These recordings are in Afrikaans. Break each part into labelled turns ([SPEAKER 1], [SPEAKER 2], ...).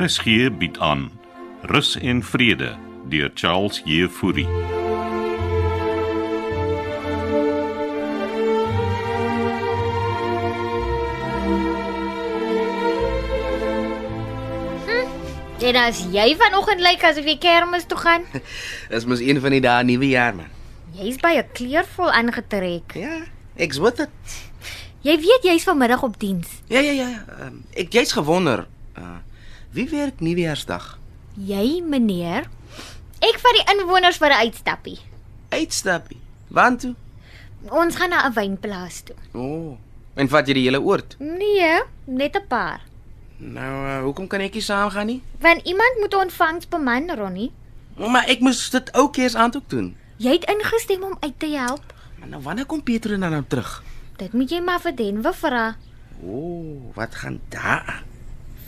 [SPEAKER 1] RSG bied aan Rus en Vrede deur Charles Jefouri.
[SPEAKER 2] En as jy vanoggend lyk asof jy kermis toe gaan,
[SPEAKER 3] Dis mos een van die dae nuwe jaar man.
[SPEAKER 2] jy's by 'n kleurvol aangetrek.
[SPEAKER 3] Ja, ek's with it.
[SPEAKER 2] Jy weet jy's vanmiddag op diens.
[SPEAKER 3] Ja ja ja. Um, ek jy's gewonder. Uh, wie werk nuwejaarsdag?
[SPEAKER 2] Jy, meneer, ek vat die inwoners vir 'n uitstappie.
[SPEAKER 3] Uitstappie. Want toe?
[SPEAKER 2] Ons gaan na 'n wynplaas toe.
[SPEAKER 3] O. Oh, en vat jy die hele oord?
[SPEAKER 2] Nee, net 'n paar.
[SPEAKER 3] Nou, uh, hoekom kan ek nie saamgaan nie?
[SPEAKER 2] Want iemand moet ontvangs beman, Ronnie.
[SPEAKER 3] O, Maar ek moes dit ou keers aantoek doen.
[SPEAKER 2] Jy het ingestem om uit te help.
[SPEAKER 3] Maar nou wanneer kom Pietro dan nou terug?
[SPEAKER 2] Dit moet jy maar vir Denwe vra.
[SPEAKER 3] O, oh, wat gaan daar? aan?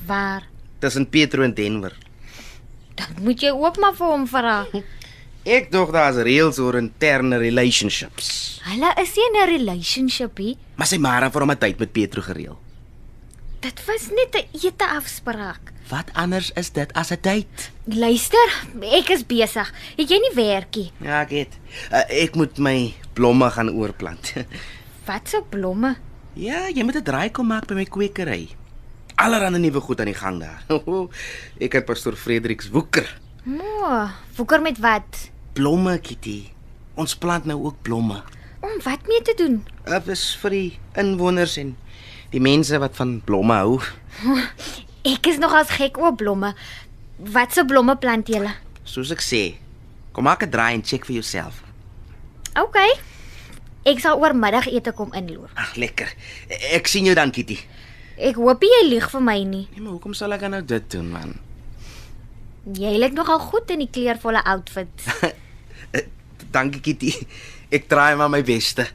[SPEAKER 2] Waar?
[SPEAKER 3] Tussen Pietro en Denver.
[SPEAKER 2] Dan moet jy ook maar vir hom vra.
[SPEAKER 3] Ek dink daar's reëls oor interne relationships.
[SPEAKER 2] Hulle is nie in 'n relationshipie.
[SPEAKER 3] Maar sy Mara vir hom 'n tyd met Pietro gereël.
[SPEAKER 2] Dit was net 'n ete afspraak.
[SPEAKER 3] Wat anders is dit as 'n date?
[SPEAKER 2] Luister, ek is besig. Het jy nie werkie?
[SPEAKER 3] Ja, ek het. Uh, ek moet my blomme gaan oorplant.
[SPEAKER 2] Wat se blomme?
[SPEAKER 3] ja, jy moet 'n draai kom maak by my kwekery. Allerhande nuwe goed aan die gang daar. ek het pastoor Frederiks woeker.
[SPEAKER 2] Mo, woeker met wat?
[SPEAKER 3] Blomme, Kitty. Ons plant nou ook blomme.
[SPEAKER 2] Om wat mee te doen?
[SPEAKER 3] Dit is vir die inwoners en die mense wat van blomme hou.
[SPEAKER 2] Ek is nogals gek oor blomme. Wat se blomme plant jy?
[SPEAKER 3] Soos ek sê, kom maak 'n draai en check vir jouself.
[SPEAKER 2] OK. Ek sal oor middagete kom inloer.
[SPEAKER 3] Ag, lekker. E- Ek sien jou dan, Kitty.
[SPEAKER 2] Ek hoop nie jy lieg vir my nie.
[SPEAKER 3] Nee, maar hoekom sal ek dan nou dit doen, man?
[SPEAKER 2] Jy lyk nogal goed in die kleurvolle outfit.
[SPEAKER 3] Eh, Dankie, Kitty. Ek draai maar my beste.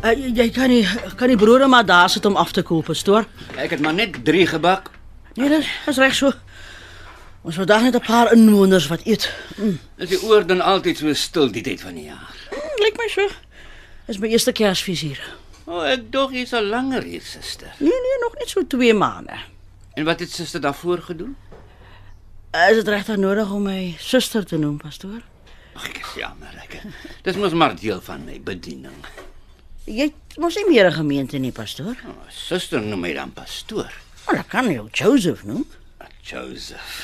[SPEAKER 4] Uh, jy jy kan nie kan die broer maar daar sit om af te koel, pastoor.
[SPEAKER 5] Ek het maar net 3 gebak.
[SPEAKER 4] Nee, dit is reg so. Ons wil daar net 'n paar inwoners wat eet. Mm.
[SPEAKER 5] Is die oor dan altyd so stil die tyd van die jaar?
[SPEAKER 4] Hm, Lyk my so. Dis my eerste Kersfees hier.
[SPEAKER 5] O, oh, ek dog jy's al langer hier, suster.
[SPEAKER 4] Nee nee, nog net so 2 maande.
[SPEAKER 5] En wat het suster daarvoor gedoen?
[SPEAKER 4] Is dit regtig nodig om my suster te noem, pastoor?
[SPEAKER 5] Ag, ek is jammer, ek. Dis mos maar deel van my bediening.
[SPEAKER 4] Jy het mos nie meer 'n gemeente nie, pastoor.
[SPEAKER 5] O, oh, suster noem my dan pastoor.
[SPEAKER 4] Maar oh, ek kan jou Joseph noem.
[SPEAKER 5] Ah, Joseph.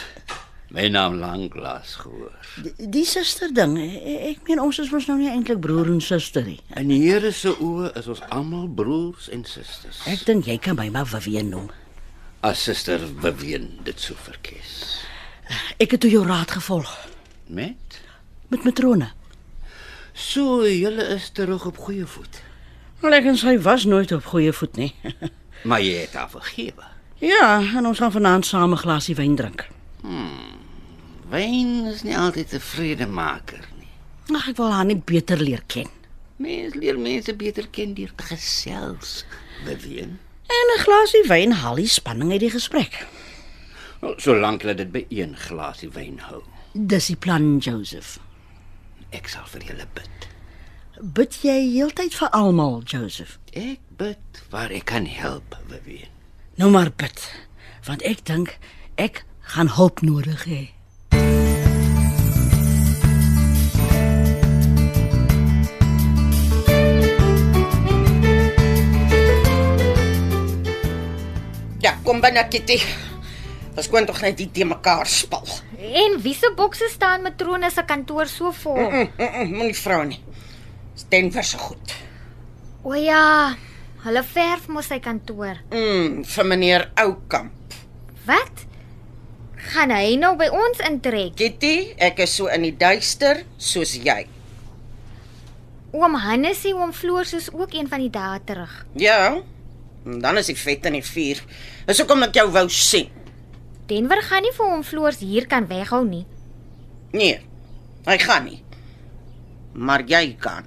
[SPEAKER 5] My naam lanklaas gehoor.
[SPEAKER 4] Die, die suster ding, e- ek meen ons is mos nou nie eintlik broer en suster nie.
[SPEAKER 5] In die Here se oë is ons almal broers en susters.
[SPEAKER 4] Ek dink jy kan my maar Vivian noem.
[SPEAKER 5] as suster beween dit so verkies.
[SPEAKER 4] Ek het toe jou raad gevolg
[SPEAKER 5] Met
[SPEAKER 4] met matrone.
[SPEAKER 5] so julle is terug op goeie voet.
[SPEAKER 4] Wel ek en sy was nooit op goeie voet nie.
[SPEAKER 5] Maar jy het haar vergewe.
[SPEAKER 4] ja, en ons gaan vanaand saam 'n glasie wyn drink.
[SPEAKER 5] Wyn Hmm. is nie altyd 'n vredemaker nie.
[SPEAKER 4] Ag, ek wil haar net beter leer ken.
[SPEAKER 5] Mens leer mense beter ken deur te gesels. Beween.
[SPEAKER 4] En 'n glasie wyn haal die spanning uit die gesprek.
[SPEAKER 5] Nou, Solank hulle dit by een glasie wyn hou.
[SPEAKER 4] Dis die plan, Joseph.
[SPEAKER 5] Ek sal vir julle bid.
[SPEAKER 4] Bid jy heeltyd vir almal, Joseph?
[SPEAKER 5] Ek bid waar ek kan help, Beween.
[SPEAKER 4] Nou maar bid, want ek dink ek gaan hulp nodig hê.
[SPEAKER 6] Ja, kom binne Kitty. Ons kon tog net die te mekaar spal.
[SPEAKER 2] En wie se bokse staan matrone se kantoor so vol?
[SPEAKER 6] Mm, mm, mm, Moenie vra nie. Stem vir se goed.
[SPEAKER 2] O ja, hulle verf mos sy kantoor.
[SPEAKER 6] Mm, vir meneer Oukamp.
[SPEAKER 2] Wat? Gaan hy nou by ons intrek?
[SPEAKER 6] Kitty, ek is so in die duister soos jy.
[SPEAKER 2] Oom Hannes en oom Floors is ook een van die dae terug.
[SPEAKER 6] Ja. En dan is ek vet in die vuur. Dis hoekom ek jou wou sien.
[SPEAKER 2] Denver gaan nie vir hom floors hier kan weghou nie.
[SPEAKER 6] Nee. Hy gaan nie. Maar jy kan.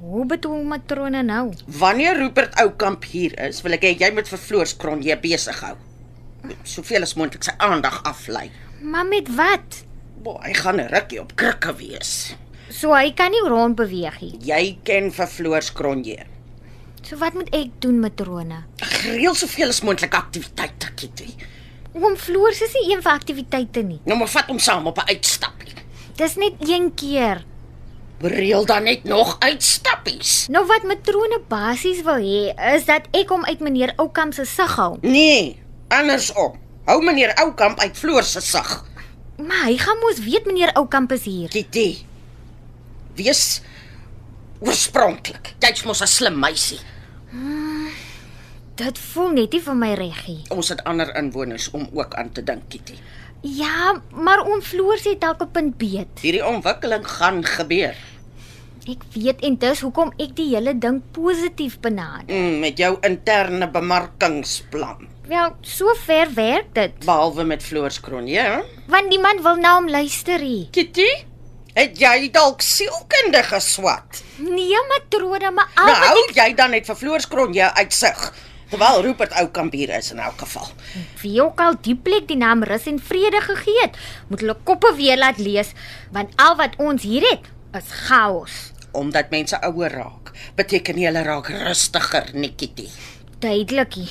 [SPEAKER 2] Hoe bedoel matrone nou?
[SPEAKER 6] Wanneer Rupert Oukamp hier is, wil ek hê jy moet vir Floors Kron jy besig hou. Soveel as moontlik sy aandag aflei.
[SPEAKER 2] Maar met wat?
[SPEAKER 6] Bo, hy gaan 'n rukkie op krikke wees.
[SPEAKER 2] So hy kan nie rond beweeg nie.
[SPEAKER 6] Jy ken vir Floors Kronje.
[SPEAKER 2] So wat moet ek doen met drone?
[SPEAKER 6] Reël soveel as moontlik aktiwiteite, Kitty.
[SPEAKER 2] Oom Floors is nie een vir aktiwiteite nie.
[SPEAKER 6] Nou maar vat hom saam op 'n uitstappie.
[SPEAKER 2] Dis net een keer.
[SPEAKER 6] Reël dan net nog uitstappies.
[SPEAKER 2] Nou wat matrone basies wil hê is dat ek hom uit meneer Oukamp se sig hou.
[SPEAKER 6] Nee, andersom. Hou meneer Oukamp uit Floors se sig.
[SPEAKER 2] Maar hy gaan mos weet meneer Oukamp is hier.
[SPEAKER 6] Kitty. Wees oorspronklik. Jy's mos 'n slim meisie.
[SPEAKER 2] Dit voel net nie vir my reggie.
[SPEAKER 6] Ons het ander inwoners om ook aan te dink, Kitty.
[SPEAKER 2] Ja, maar oom Floors het dalk 'n punt beet.
[SPEAKER 6] Hierdie ontwikkeling gaan gebeur.
[SPEAKER 2] Ek weet en dis hoekom ek die hele ding positief benader.
[SPEAKER 6] Mm, met jou interne bemarkingsplan,
[SPEAKER 2] Wel, so ver werk dit,
[SPEAKER 6] behalwe met ja. Floors Kronje. hè?
[SPEAKER 2] want niemand wil na hom luister nie.
[SPEAKER 6] Kitty, het jy dalk sielkunde geswat?
[SPEAKER 2] Nee, matrone, maar al
[SPEAKER 6] Nou
[SPEAKER 2] wat
[SPEAKER 6] hou jy dan net vir Floors Kronje uitsig. Terwyl Rupert Oukamp hier is in elk geval.
[SPEAKER 2] wie ook al die plek die naam rus en vrede gegee het, moet hulle koppe weer laat lees, want al wat ons hier het is chaos.
[SPEAKER 6] Omdat mense ouer raak, beteken nie hulle raak rustiger nie, Kitty.
[SPEAKER 2] Duidelikie.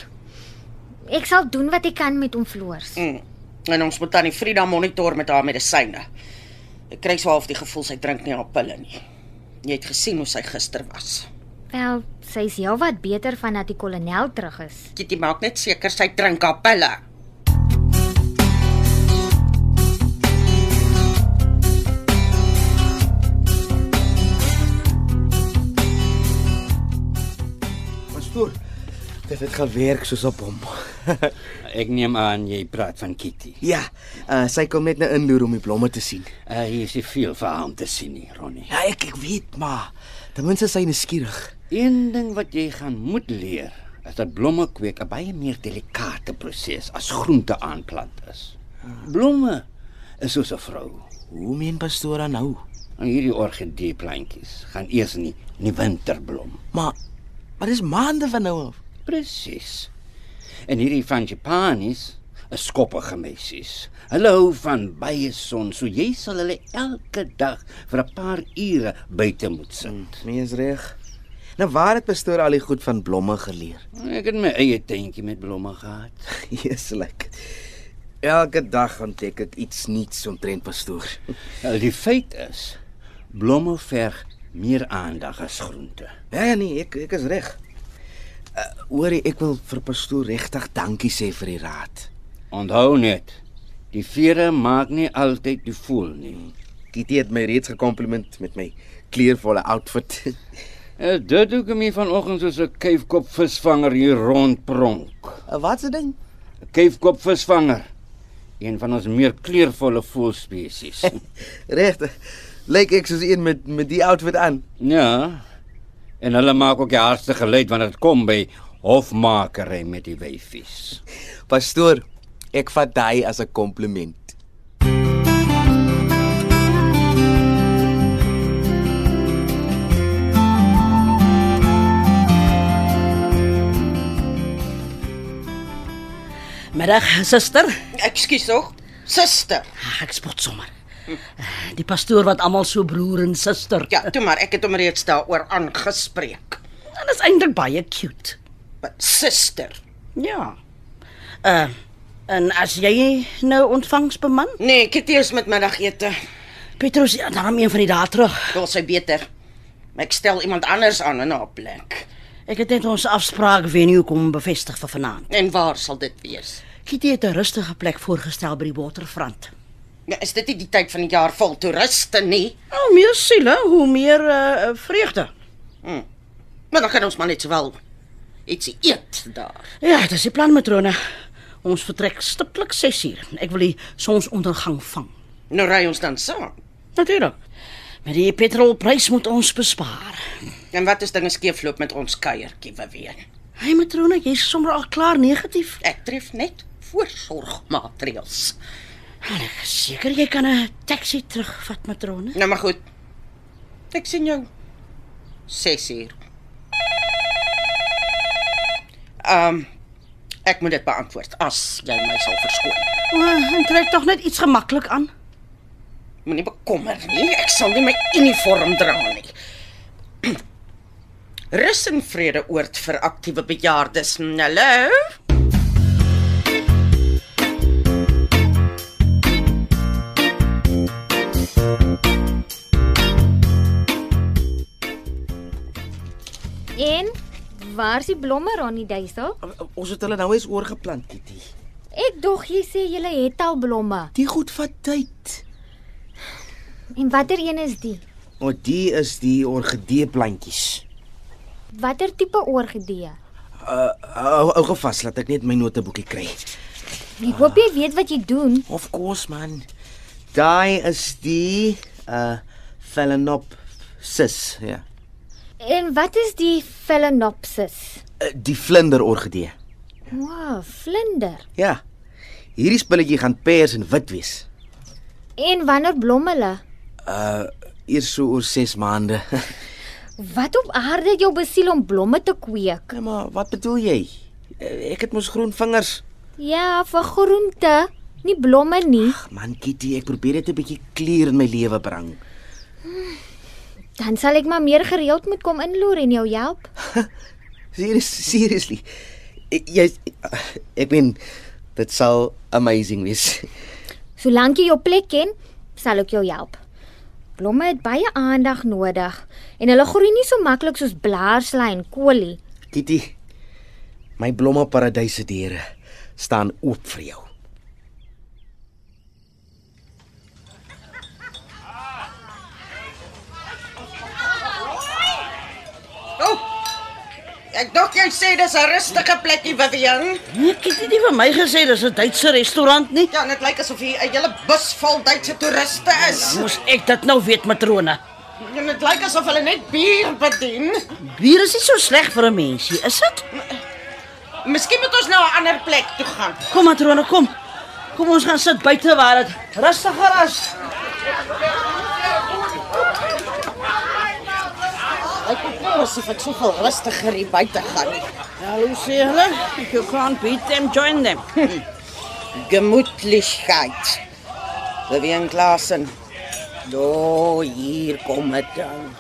[SPEAKER 2] Ek sal doen wat ek kan met hom Floors.
[SPEAKER 6] Mm. En ons moet tannie Frida monitor met haar medisyne. Ek kry so half die gevoel sy drink nie haar pille nie. Jy het gesien hoe sy gister was.
[SPEAKER 2] Wel, sy's heelwat beter vandat die kolonel terug is.
[SPEAKER 6] Kitty maak net seker sy drink haar pille.
[SPEAKER 3] Pastoor, dit het gaan werk soos op hom.
[SPEAKER 5] Ek neem aan jy praat van Kitty.
[SPEAKER 3] ja, uh, sy kom net nou inloer om die blomme te sien.
[SPEAKER 5] Uh, hier is nie veel vir haar om te sien nie, Ronnie.
[SPEAKER 3] Ja, ek ek weet maar. Ten minste sy is nuuskierig.
[SPEAKER 5] Een ding wat jy gaan moet leer is dat blomme kweek 'n baie meer delikate proses as groente aanplant is. Blomme is soos 'n vrou.
[SPEAKER 3] Hoe meen pastoor dan nou?
[SPEAKER 5] En hierdie orgidee plantjies gaan eers in die, in die winter blom.
[SPEAKER 3] Maar maar dis maande van nou af.
[SPEAKER 5] Presies. En hierdie frangipanies is skoppige meisies. Hulle hou van baie son, so jy sal hulle elke dag vir 'n paar ure buite moet sit.
[SPEAKER 3] Nee, is reg. Nou waar het pastoor al die goed van blomme geleer?
[SPEAKER 5] Ek het my eie tuintjie met blomme gehad.
[SPEAKER 3] Jesulik. Elke dag ontdek ek iets nuuts omtrent pastoor.
[SPEAKER 5] Nou, die feit is blomme verg meer aandag as groente.
[SPEAKER 3] Ja ja nee, ek ek is reg. Uh, hoorie, ek wil vir pastoor regtig dankie sê vir die raad.
[SPEAKER 5] Onthou net, die vere maak nie altyd die voel nie.
[SPEAKER 3] Kitty het my reeds gekompliment met my kleurvolle outfit.
[SPEAKER 5] Is Eh, dit hoekom jy vanoggend soos 'n kuifkop visvanger hier rondpronk?
[SPEAKER 3] Wat se ding?
[SPEAKER 5] 'n Kuifkop visvanger. Een van ons meer kleurvolle voëlspesies.
[SPEAKER 3] Regtig. Lyk ek soos een met met die outfit aan.
[SPEAKER 5] ja. En hulle maak ook die hardste geluid wanneer dit kom by hofmakery met die wyfies.
[SPEAKER 3] Pastoor, ek vat daai as 'n kompliment.
[SPEAKER 4] Middag, suster.
[SPEAKER 6] Ekskuus tog. Suster.
[SPEAKER 4] Ag, ek spot sommer. Die pastoor wat almal so broer en suster.
[SPEAKER 6] Ja, toe maar, ek het hom reeds daaroor aangespreek.
[SPEAKER 4] dit is eintlik baie cute.
[SPEAKER 6] Maar Suster.
[SPEAKER 4] Ja. Uh en as jy nou ontvangs beman,
[SPEAKER 6] Nee, Kitty is met middagete.
[SPEAKER 4] Petrus, ja, daarom een van die dae terug.
[SPEAKER 6] Wil sy beter. Ek stel iemand anders aan in haar plek.
[SPEAKER 4] Ek het net ons afspraak venue kom bevestig vir vanaand.
[SPEAKER 6] En waar sal dit wees?
[SPEAKER 4] Kitty het 'n rustige plek voorgestel by die waterfront.
[SPEAKER 6] Ja, is dit nie die tyd van die jaar vol toeriste nie?
[SPEAKER 4] Hoe meer siele, hoe meer
[SPEAKER 6] eh,
[SPEAKER 4] uh, vreugde.
[SPEAKER 6] Maar dan kan ons maar net sowel ietsie eet daar.
[SPEAKER 4] Ja, dis die plan matrone. Ons vertrek stiptelik 6uur. Ek wil die sonsondergang vang.
[SPEAKER 6] Nou ry ons dan saam.
[SPEAKER 4] Natuurlik. Met die petrolprys moet ons bespaar.
[SPEAKER 6] En wat as dinge skeefloop met ons kuiertjie weer?
[SPEAKER 4] Hey matrone, jy's sommer al klaar negatief.
[SPEAKER 6] Ek tref net voorsorgmaatreëls.
[SPEAKER 4] En Ek is seker jy kan 'n taxi terugvat matrone.
[SPEAKER 6] Nou maar goed. Ek sien jou 6 uur. Ehm um, ek moet dit beantwoord as jy my sal verskoon.
[SPEAKER 4] O, en trek tog net iets gemaklik aan.
[SPEAKER 6] Moenie bekommer nie. Ek sal nie my uniform dra nie. Rus en vrede oord vir aktiewe bejaardes. Hallo.
[SPEAKER 2] En waar's die blomme Ronnie Duisel?
[SPEAKER 5] Ons het hulle nou eens oorgeplant, Kitty.
[SPEAKER 2] Ek dog jy sê jy het al blomme.
[SPEAKER 5] Die goed vat tyd.
[SPEAKER 2] En watter een is die?
[SPEAKER 5] O, die is die orgidee plantjies.
[SPEAKER 2] Watter tipe orgidee?
[SPEAKER 5] Uh, hou hou gou vas, laat ek net my noteboekie kry.
[SPEAKER 2] Ek hoop jy weet wat jy doen.
[SPEAKER 5] Of course man. Daai is die uh Phalaenop sis, ja.
[SPEAKER 2] En wat is die Phalaenopsis?
[SPEAKER 5] Uh, die vlinderorgidee.
[SPEAKER 2] Wow, vlinder.
[SPEAKER 5] Ja. Hierdie spulletjie gaan pers en wit wees.
[SPEAKER 2] En wanneer blom hulle?
[SPEAKER 5] Uh eers so oor 6 maande.
[SPEAKER 2] Wat op aarde het jou besiel om blomme te kweek?
[SPEAKER 5] nee, maar wat bedoel jy? Eh, Ek het mos groen vingers.
[SPEAKER 2] Ja, vir groente, nie blomme nie.
[SPEAKER 5] Ag man, Kitty, ek probeer dit 'n bietjie kleur in my lewe bring.
[SPEAKER 2] Dan sal ek maar meer gereeld moet kom inloer en jou help.
[SPEAKER 5] Serious, seriously. Ek- Jy ek meen dit sal amazing wees.
[SPEAKER 2] Solank jy jou plek ken, sal ek jou help. Blomme het baie aandag nodig en hulle groei nie so maklik soos blaarslei en kolie.
[SPEAKER 5] Kitty, my blomme paradyse deure staan oop vir jou.
[SPEAKER 6] O. Oh, ek dink jy sê dis 'n rustige plekie, Vivian.
[SPEAKER 4] Nee, ek het nie vir my gesê dis 'n Duitse restaurant nie.
[SPEAKER 6] Ja, en dit lyk asof hier 'n hele bus vol Duitse toeriste is.
[SPEAKER 4] Moes ek dit nou weet, matrone?
[SPEAKER 6] En dit lyk asof hulle net bier bedien.
[SPEAKER 4] Bier is nie so sleg vir 'n mensie, is dit?
[SPEAKER 6] Miskien moet ons nou 'n ander plek toe gaan.
[SPEAKER 4] Kom matrone, kom. Kom ons gaan sit buite waar dit rustiger is.
[SPEAKER 6] Ek voel asof ek soveel rustiger hier buite gaan.
[SPEAKER 4] Hallo Ja, sê hulle, if you can't beat them, join them.
[SPEAKER 6] Hm. Gemoedlichheid. Vivian Klassen. Do, hier kom dit dan.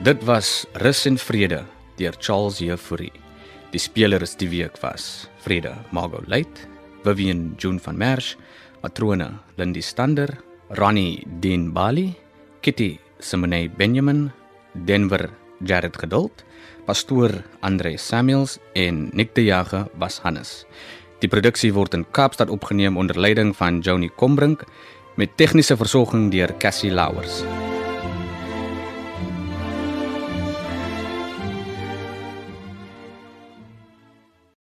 [SPEAKER 7] Dit was Rus en Vrede deur Charles Jefouri. Die speler is die week was Vrede Margot Leit, Vivian June van Merch, Matrone Lindy Stander, Ronnie Den Bali, Kitty Simone Benjamin, Denver Jared Geduld, pastoor Andre Samuels en Nick de Jager was Hannes. Die produksie word in Kaapstad opgeneem onder leiding van Johnny Combrink met tegniese versorging deur Cassie Louwers.